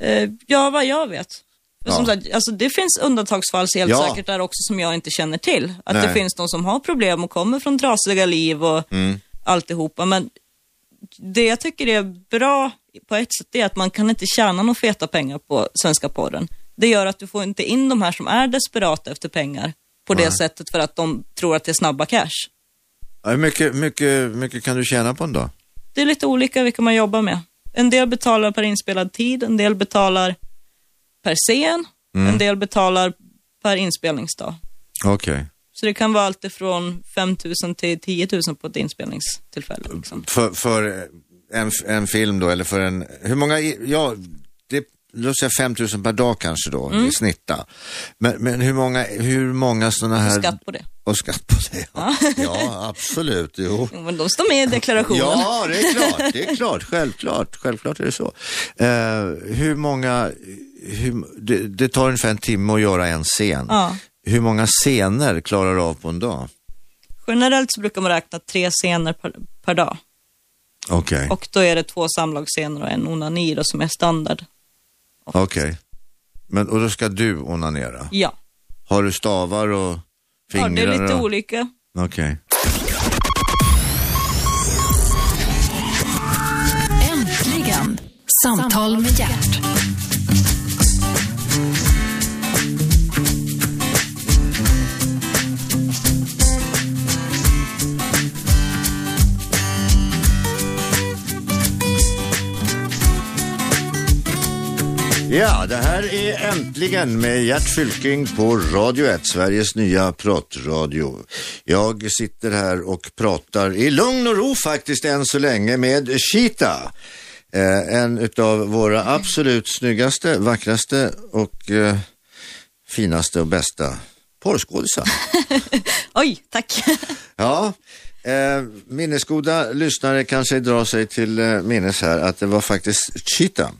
C: Eh, ja, vad jag vet. För
B: Ja.
C: som sagt, alltså det finns undantagsfall helt
B: Ja.
C: säkert där också som jag inte känner till. Att
B: Nej.
C: det finns de som har problem och kommer från trasiga liv och
B: Mm.
C: alltihopa. Men det jag tycker är bra på ett sätt är att man kan inte tjäna några feta pengar på svenska porren. Det gör att du får inte in de här som är desperata efter pengar på det sättet för att de tror att det är snabba cash.
B: Ja, Hur mycket, mycket, mycket kan du tjäna på en dag?
C: Det är lite olika vilka man jobbar med. En del betalar per inspelad tid, en del betalar per scen,
B: Mm.
C: En del betalar per inspelningsdag.
D: Okej.
C: Så det kan vara allt ifrån 5 000 till 10 000 på ett inspelningstillfälle. Liksom.
B: För, för en, f- en film då, eller för en, hur många, i- ja, det, låt säga 5 000 per dag kanske då,
C: Mm.
B: i snitt. då. Men, men hur många, hur många sådana här...
C: Skatt på det.
B: Och skatt på det, ja. ja absolut, jo.
C: Jo, men de står med i deklarationen.
B: Ja, det är klart, det är klart, självklart, självklart är det så. Eh, hur många, hur, det, det tar ungefär en timme att göra en scen.
C: Ja.
B: Hur många scener klarar du av på en dag?
C: Generellt så brukar man räkna tre scener per, per dag.
B: Okej,
C: Och då är det två samlagsscener och en onani då, som är standard.
B: okej. Men, och då ska du onanera?
C: Ja,
B: Har du stavar och
C: ja
B: fingrar?
C: det är lite
B: och-
C: olika.
B: Okej.
A: Äntligen! Samtal med hjärt.
B: Ja, det här är äntligen med Gert Fylking på Radio 1, Sveriges nya pratradio. Jag sitter här och pratar i lugn och ro faktiskt än så länge med Cheetah. Eh, en utav våra absolut snyggaste, vackraste och eh, finaste och bästa porrskådisar.
C: Oj, tack.
B: Ja, eh, minnesgoda lyssnare kanske drar sig till eh, minnes här att det var faktiskt Cheetah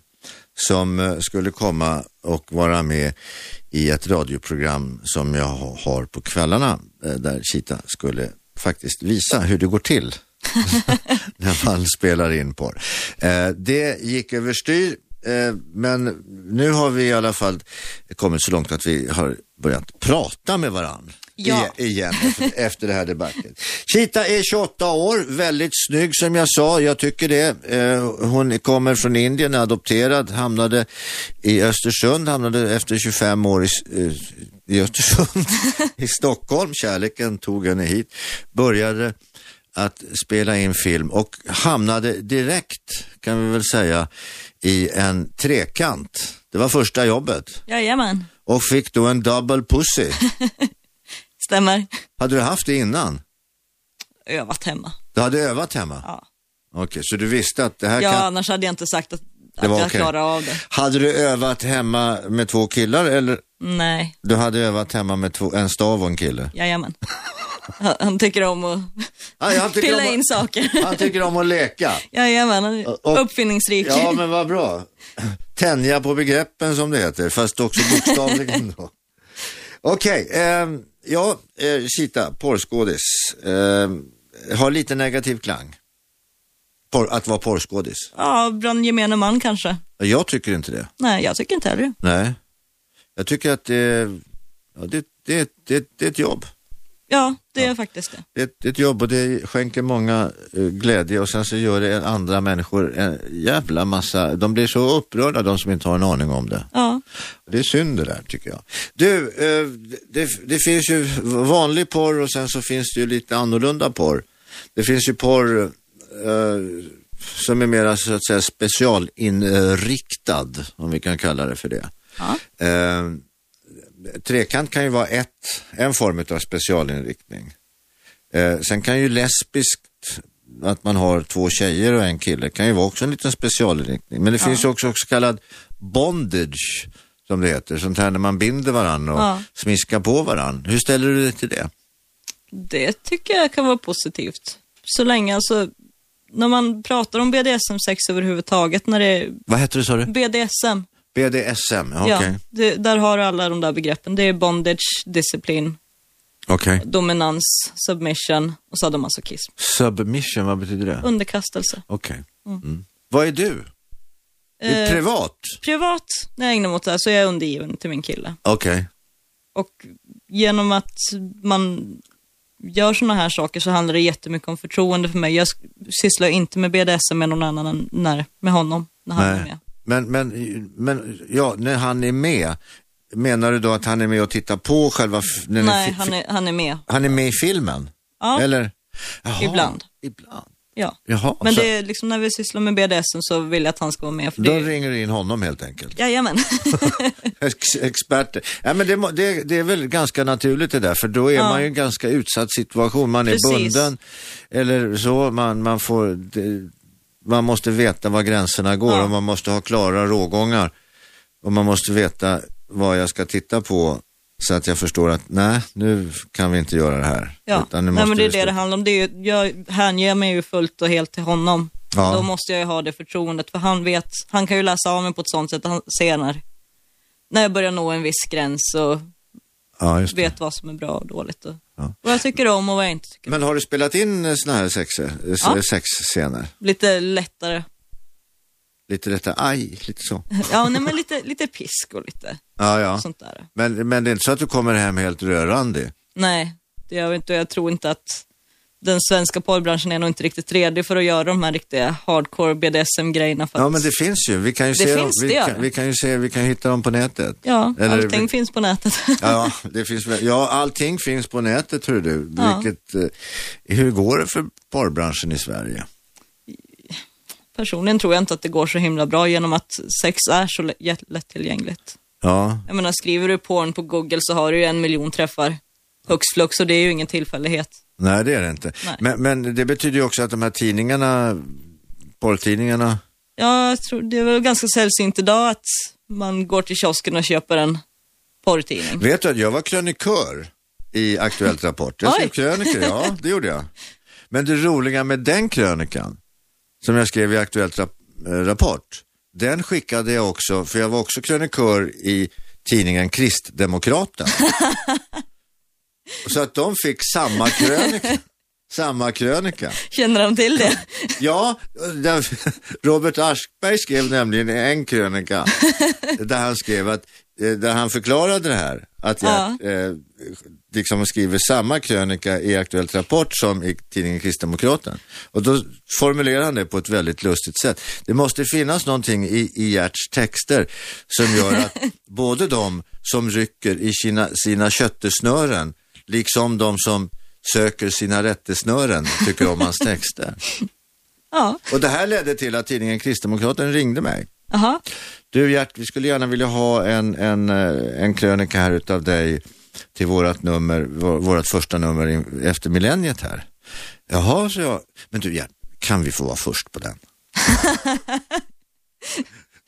B: som eh, skulle komma och vara med i ett radioprogram som jag ha- har på kvällarna eh, där Cheetah skulle faktiskt visa hur det går till när man spelar in på eh, Det gick överstyr eh, men nu har vi i alla fall kommit så långt att vi har börjat prata med varandra
C: Ja.
B: igen efter- efter det här debatten. Chita är 28 år, väldigt snygg som jag sa, jag tycker det. Eh, Hon kommer från Indien, är adopterad, hamnade i Östersund, hamnade efter 25 år i, S- eh, i Östersund, i Stockholm. Kärleken tog henne hit, började att spela in film och hamnade direkt, kan vi väl säga, i en trekant. Det var första jobbet
C: Jajamän,
B: och fick då en double pussy.
C: stämmer.
B: Hade du haft det innan?
C: Övat hemma.
B: Du hade övat hemma?
C: Ja,
B: Okej, så du visste att det här
C: ja
B: kan...
C: annars hade jag inte sagt att, att
B: var
C: jag
B: okej.
C: klarar av det.
B: Hade du övat hemma med två killar eller
C: Nej,
B: du hade övat hemma med två, en stav och en kille?
C: jajamän. Han, han tycker om att
B: Ja, jag tycker
C: pilla
B: om att-
C: in saker.
B: Han tycker om att leka.
C: Jajamän, han är
B: Och-
C: uppfinningsrik.
B: Ja, men vad bra. Tänja på begreppen som det heter, fast också bokstavligen då. Okej, ehm, ja, eh, Chita, porrskådis. Ehm, har lite negativ klang. Porr, att vara porrskådis.
C: Ja, bland gemene man kanske.
B: Jag tycker inte det.
C: Nej, jag tycker inte heller det.
B: Nej. Jag tycker att det, ja, det, det, det, det är ett jobb.
C: Ja, det är faktiskt det.
B: Det är ett, det är ett jobb och det skänker många eh, glädje och sen så gör det andra människor en jävla massa, de blir så upprörda de som inte har en aning om det.
C: Ja,
B: Det är synd det där tycker jag. Du, eh, det, det finns ju vanlig porr och sen så finns det ju lite annorlunda porr. Det finns ju porr eh, som är mera så att säga specialinriktad, om vi kan kalla det för det.
C: ja.
B: Eh, trekant kan ju vara ett, en form av specialinriktning. Eh, sen kan ju lesbiskt, att man har två tjejer och en kille, kan ju vara också en liten specialinriktning. Men det finns ju också så kallad bondage, som det heter. Sånt här när man binder varandra och
C: Ja.
B: smiskar på varandra. Hur ställer du dig till det?
C: det tycker jag kan vara positivt. Så länge alltså, när man pratar om BDSM-sex överhuvudtaget, när det är
B: Vad heter det sa du?
C: BDSM,
B: BDSM, okej.
C: ja, det, där har du alla de där begreppen. Det är bondage, disciplin,
B: Okej.
C: dominans, submission och sadomasochism.
B: Submission, vad betyder det? Okej.
C: alltså Underkastelse.
B: Mm. Vad är du? Du är
C: Eh,
B: privat?
C: Privat, när jag ägnar mig åt det här, så är jag undergiven till min kille.
B: Okej.
C: Och genom att man gör sådana här saker så handlar det jättemycket om förtroende för mig. Jag sk- sysslar ju inte med BDSM med någon annan än när, med honom, när han är
B: Nej.
C: med.
B: Men, men, men ja, när han är med, menar du då att han är med och tittar på själva... f- när ni
C: Nej,
B: fi-
C: han är, han är med
B: han är med i filmen?
C: Ja.
B: Eller? Jaha,
C: Ibland.
B: Ibland.
C: Ja.
B: Jaha,
C: Men
B: så-
C: det är liksom när vi sysslar med BDSM så vill jag att han ska vara med. För
B: Alltså- Då
C: det...
B: ringer du in honom helt enkelt.
C: Jajamän.
B: Ex experter. Ja, men det, må- det, det är väl ganska naturligt det där, för då är
C: Ja.
B: man ju i en ganska utsatt situation. Man är
C: Precis.
B: bunden eller så, man, man får... Det, man måste veta var gränserna går
C: Ja.
B: och man måste ha klara rågångar. Och man måste veta vad jag ska titta på så att jag förstår att nej, nu kan vi inte göra det här.
C: Ja.
B: Utan nu
C: Nej, men det är
B: vi
C: det det
B: sluta.
C: handlar om. Det är ju, jag hänger mig ju fullt och helt till honom.
B: Ja.
C: Då måste jag ju ha det förtroendet, för han vet, han kan ju läsa av mig på ett sånt sätt att han ser när, när jag börjar nå en viss gräns och
B: Ja, just det.
C: vet vad som är bra och dåligt. Och,
B: Ja.
C: Vad jag tycker om och vad jag inte tycker
B: Men har du spelat in sådana här sex,
C: Ja.
B: sexscener?
C: om. Lite lättare.
B: Lite detta, aj, lite så.
C: Ja, nej, men lite, lite pisk och lite
B: Ja, ja.
C: sånt där.
B: Men, men det är inte så att du kommer hem helt rörande?
C: Nej, det gör vi inte och jag tror inte att den svenska porrbranschen är nog inte riktigt redig för att göra de här riktiga hardcore BDSM-grejerna. för
B: Ja,
C: att-
B: men det finns ju. Vi kan ju
C: Det
B: se
C: finns det,
B: dem. Vi
C: ja.
B: kan, vi kan ju se, vi kan hitta dem på nätet.
C: ja
B: Eller-
C: allting finns på nätet.
B: Ja, det finns, väl- ja, allting finns på nätet, hör du.
C: Ja.
B: Vilket, eh, hur går det för porrbranschen i Sverige?
C: Personligen tror jag inte att det går så himla bra genom att sex är så lä- jät- lättillgängligt.
B: Ja,
C: Jag menar, skriver du porn på Google så har du ju en miljon träffar högst flux och det är ju ingen tillfällighet.
B: nej det är det inte.
C: Nej.
B: Men, men det betyder ju också att de här tidningarna, porrtidningarna,
C: Ja, jag tror det är väl ganska sällsynt idag att man går till kiosken och köper en porrtidning.
B: Vet du att jag var krönikör i Aktuellt Rapport? Jag skrev
C: Oj.
B: krönikor, ja det gjorde jag. Men det roliga med den krönikan som jag skrev i Aktuellt rap- eh, Rapport, den skickade jag också, för jag var också krönikör i tidningen Kristdemokraten. Så att de fick samma krönika. Samma krönika.
C: Känner han till det?
B: Ja, där, Robert Aschberg skrev nämligen en krönika där han skrev att, eh, där han förklarade det här. Att jag eh, liksom skriver samma krönika i Aktuellt Rapport som i tidningen Kristdemokraten. Och då formulerar han det på ett väldigt lustigt sätt. Det måste finnas någonting i, i Gerts texter som gör att både de som rycker i sina, sina köttesnören, liksom de som söker sina rättesnören, tycker om hans texter.
C: Ja,
B: Och det här ledde till att tidningen Kristdemokraten ringde mig.
C: aha.
B: Du Gert, vi skulle gärna vilja ha en, en, eh, en krönika här utav dig till vårat nummer, vår- vårat första nummer in- efter millenniet här. Jaha, så jag. Men du Gert, kan vi få vara först på den?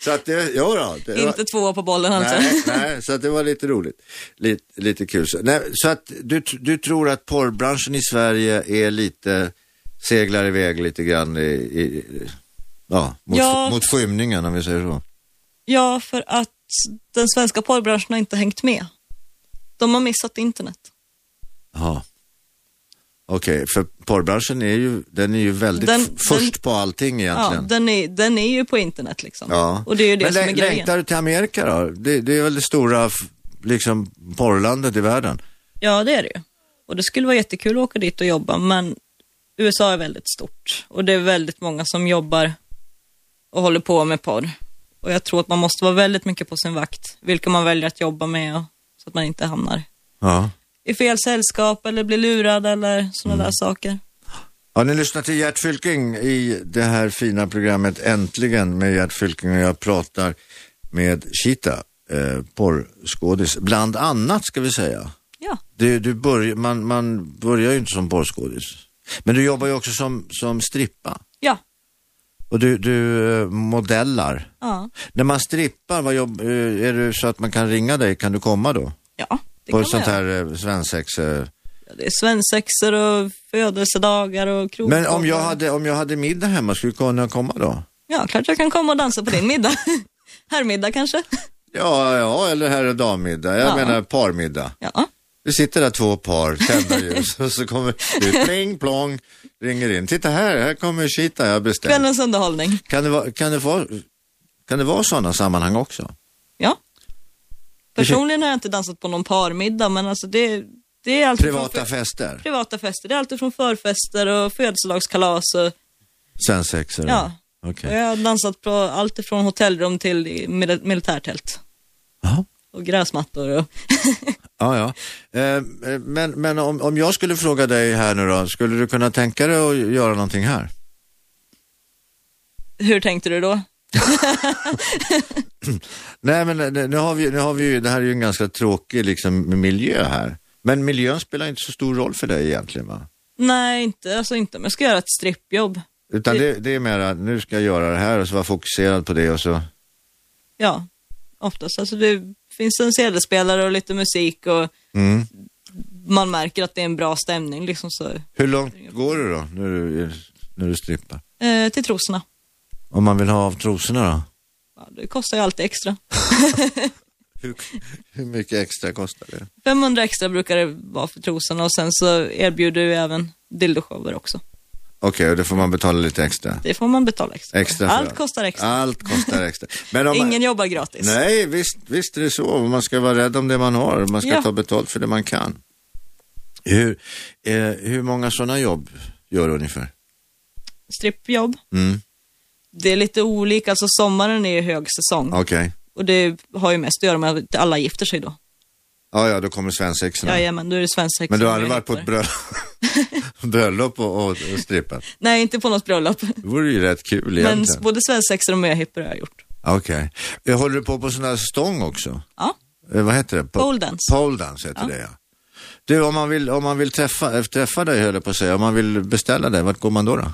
B: så att det, jo då, det var-
C: Inte tvåa på bollen alltså.
B: Nej, nej, så att det var lite roligt. Lite, lite kul. Så, nej, så att du, tr- du tror att porrbranschen i Sverige är lite, seglar iväg lite grann i, i ja, mot,
C: Ja.
B: mot skymningen om vi säger så.
C: Ja, för att den svenska porrbranschen har inte hängt med. De har missat internet.
B: Jaha. Okej, för porrbranschen är ju, den är ju väldigt
C: Den-
B: f- först
C: den-
B: på allting
C: Ja,
B: egentligen.
C: den är, den är ju på internet liksom.
B: Ja.
C: Och det är ju det
B: Men
C: som är
B: lä-
C: grejen.
B: längtar du till Amerika då? Det, det är väl det stora f- liksom, porrlandet i världen?
C: Ja, det är det ju. Och det skulle vara jättekul att åka dit och jobba, men USA är väldigt stort och det är väldigt många som jobbar och håller på med porr. Och jag tror att man måste vara väldigt mycket på sin vakt, vilka man väljer att jobba med och, så att man inte hamnar
B: Ja.
C: i fel sällskap eller blir lurad eller sådana
B: Mm.
C: där saker.
B: Ja, ni lyssnar till Gert Fylking i det här fina programmet Äntligen med Gert Fylking och jag pratar med Chita, eh, porrskådis, bland annat ska vi säga.
C: Ja,
B: Du, du börj, man, man börjar ju inte som porrskådis, men du jobbar ju också som, som strippa
C: ja,
B: och du, du eh, modellar.
C: ja,
B: När man strippar, vad jobb, eh, är det så att man kan ringa dig? Kan du komma då?
C: ja. Det
B: På
C: kan
B: ett sånt
C: man göra.
B: här eh, svensex... Eh.
C: Ja, Det är svensexor och födelsedagar och krog.
B: Men om jag, hade, om jag hade middag hemma, skulle du kunna komma då?
C: Ja, klart jag kan komma och dansa på din middag. Herrmiddag kanske?
B: Ja, ja, eller herr och dammiddag. Jag
C: Ja.
B: menar parmiddag.
C: Ja.
B: Det sitter där två par, tända ljus och så kommer du, pling plong, ringer in. Titta här, här kommer Chita, jag har beställt.
C: Kvällens underhållning.
B: Kan det vara, kan det vara, kan det vara sådana sammanhang också?
C: Ja. Personligen har jag inte dansat på någon parmiddag, men alltså det, det är alltid
B: Privata
C: från fe-
B: fester,
C: privata fester. Det är alltid från förfester och födelsedagskalas. Och,
B: svensexor?
C: ja.
B: Okej.
C: och jag har dansat på allt ifrån hotellrum till i mil- militärtält
B: Ja.
C: och gräsmattor. Och
B: Ja, ja. Eh, men men om, om jag skulle fråga dig här nu då, skulle du kunna tänka dig att göra någonting här?
C: Hur tänkte du då?
B: Nej men eh, nu har vi, nu har vi ju, det här är ju en ganska tråkig liksom, miljö här. Men miljön spelar inte så stor roll för dig egentligen va?
C: Nej, inte, alltså inte om jag ska göra ett strippjobb.
B: Utan det, det är mera, nu ska jag göra det här och så vara fokuserad på det och så.
C: Ja, oftast. Alltså det finns en CD-spelare och lite musik och
B: Mm.
C: man märker att det är en bra stämning liksom så.
B: Hur långt går du då när du, när du strippar?
C: Eh, till trosorna.
B: Om man vill ha av trosorna då?
C: Ja, det kostar ju alltid extra.
B: Hur, hur mycket extra kostar det?
C: 500 extra brukar det vara för trosorna och sen så erbjuder vi även dildoshower också.
B: Okej, och då får man betala lite extra.
C: Det får man betala extra, för.
B: extra för
C: Allt kostar extra.
B: Allt kostar extra. Men om
C: Ingen jobbar gratis.
B: Nej, visst, visst är det så. Man ska vara rädd om det man har. Man ska
C: Ja.
B: ta betalt för det man kan. Hur, eh, hur många sådana jobb gör du ungefär?
C: Strippjobb.
B: Mm,
C: Det är lite olika, alltså sommaren är ju hög säsong
B: Okej.
C: och det har ju mest att göra med att alla gifter sig då.
B: Ja, ja, då kommer svensexorna.
C: Jajamän, då är det svensexa.
B: Men du har
C: som
B: aldrig varit på
C: gäller.
B: ett bröll... bröllop och, och, och strippat?
C: Nej, inte på något bröllop.
B: Det vore ju rätt kul
C: Men
B: egentligen.
C: både svensexor och möhippor har jag gjort.
B: Okej. Eh, Håller du på på sån här stång också?
C: Ja,
B: Eh, vad heter det? Po-
C: Pole dance.
B: Pole dance heter det ja. Du, om man vill, om man vill träffa, eh, träffa dig höll jag på att säga, om man vill beställa dig, vart går man då? då?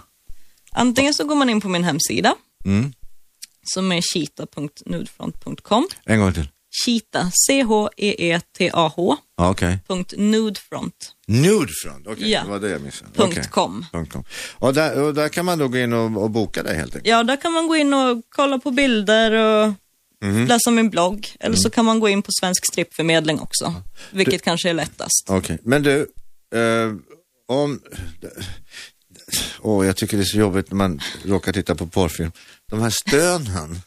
C: antingen så går man in på min hemsida
B: Mm.
C: som är cheetah.nudefront.com.
B: En gång till.
C: Cheetah, E C-H-E-E-T-A-H.
B: Ja, okej.
C: nudefront.com.
B: Nudefront, okej,
C: Ja.
B: det var det jag missade. Okej. Punkt com. Och där, och där kan man då gå in och, och boka dig helt enkelt.
C: Ja, där kan man gå in och kolla på bilder och
B: Mhm.
C: läsa min blogg. Eller så kan man gå in på Svensk strippförmedling också, vilket kanske är lättast.
B: Okej, men du, eh, om... Åh, jag tycker det är så jobbigt när man råkar titta på porrfilm. De här stönen,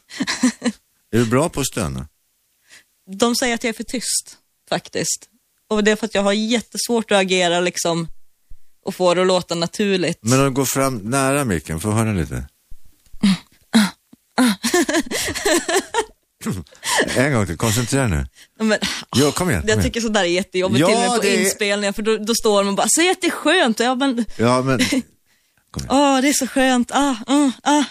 B: är du bra på att stöna?
C: De säger att jag är för tyst, faktiskt. Och det är för att jag har jättesvårt att agera liksom och få det att låta naturligt.
B: Men om du går fram nära micken, får jag höra lite? en gång till, koncentrera nu.
C: Ja, Men,
B: Jo, kom igen. Kom
C: jag
B: igen.
C: tycker sådär är jättejobbigt
B: Ja,
C: till och med på
B: det är-
C: inspelningar, för då, då står man bara, säg att det är skönt, och jag men
B: Ja, men,
C: Åh, det är så skönt. Ah, ah, ah.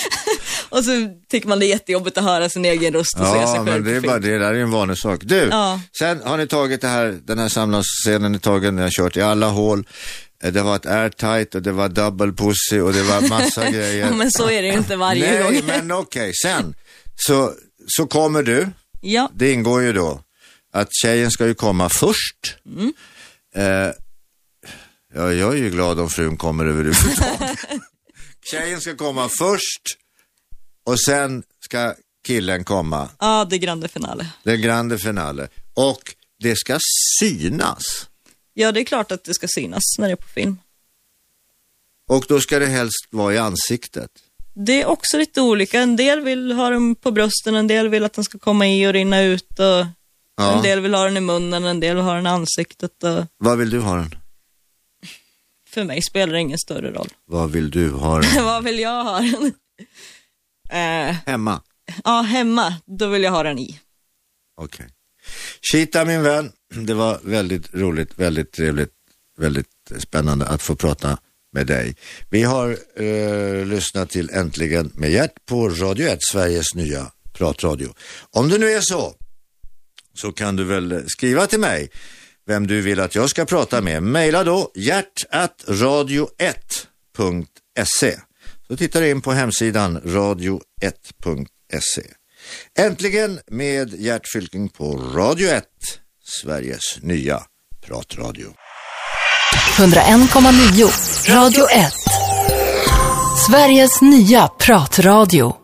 C: och så tycker man det är jättejobbigt att höra sin egen röst och se sig själv
B: ja, men
C: på
B: det är
C: film.
B: bara det, där är ju en vanesak. Du,
C: Ja.
B: sen har ni tagit det här, den här samlagsscenen, ni tagit, ni har kört i alla hål. Eh, Det var ett airtight och det var double pussy och det var massa grejer.
C: Ja, men så är det ju inte varje
B: Nej,
C: gång.
B: men okej, sen så, så kommer du,
C: Ja,
B: det ingår ju då att tjejen ska ju komma först.
C: Mm.
B: Eh, ja, jag är ju glad om frun kommer överhuvudtaget. tjejen ska komma först och sen ska killen komma.
C: ah, det är grande finale.
B: Den grande finale. Och det ska synas.
C: Ja, det är klart att det ska synas när det är på film.
B: Och då ska det helst vara i ansiktet.
C: Det är också lite olika. En del vill ha den på brösten, en del vill att den ska komma i och rinna ut. Och
B: Ja.
C: En del vill ha den i munnen, en del vill ha den i ansiktet. Och
B: Vad vill du ha den?
C: för mig spelar det ingen större roll.
B: Vad vill du ha den?
C: Vad vill jag ha den? Eh,
B: Hemma.
C: ja, hemma, då vill jag ha den i.
B: Okej. Shita min vän, det var väldigt roligt, väldigt trevligt, väldigt spännande att få prata med dig. Vi har eh, lyssnat till Äntligen med Gert på Radio 1, Sveriges nya pratradio. Om det nu är så, så kan du väl skriva till mig vem du vill att jag ska prata med. Maila då hjärtatradio1.se. Så tittar du in på hemsidan radio1.se. Äntligen med Gert Fylking på Radio 1, Sveriges nya pratradio.
A: 101,9. Radio 1. Sveriges nya pratradio.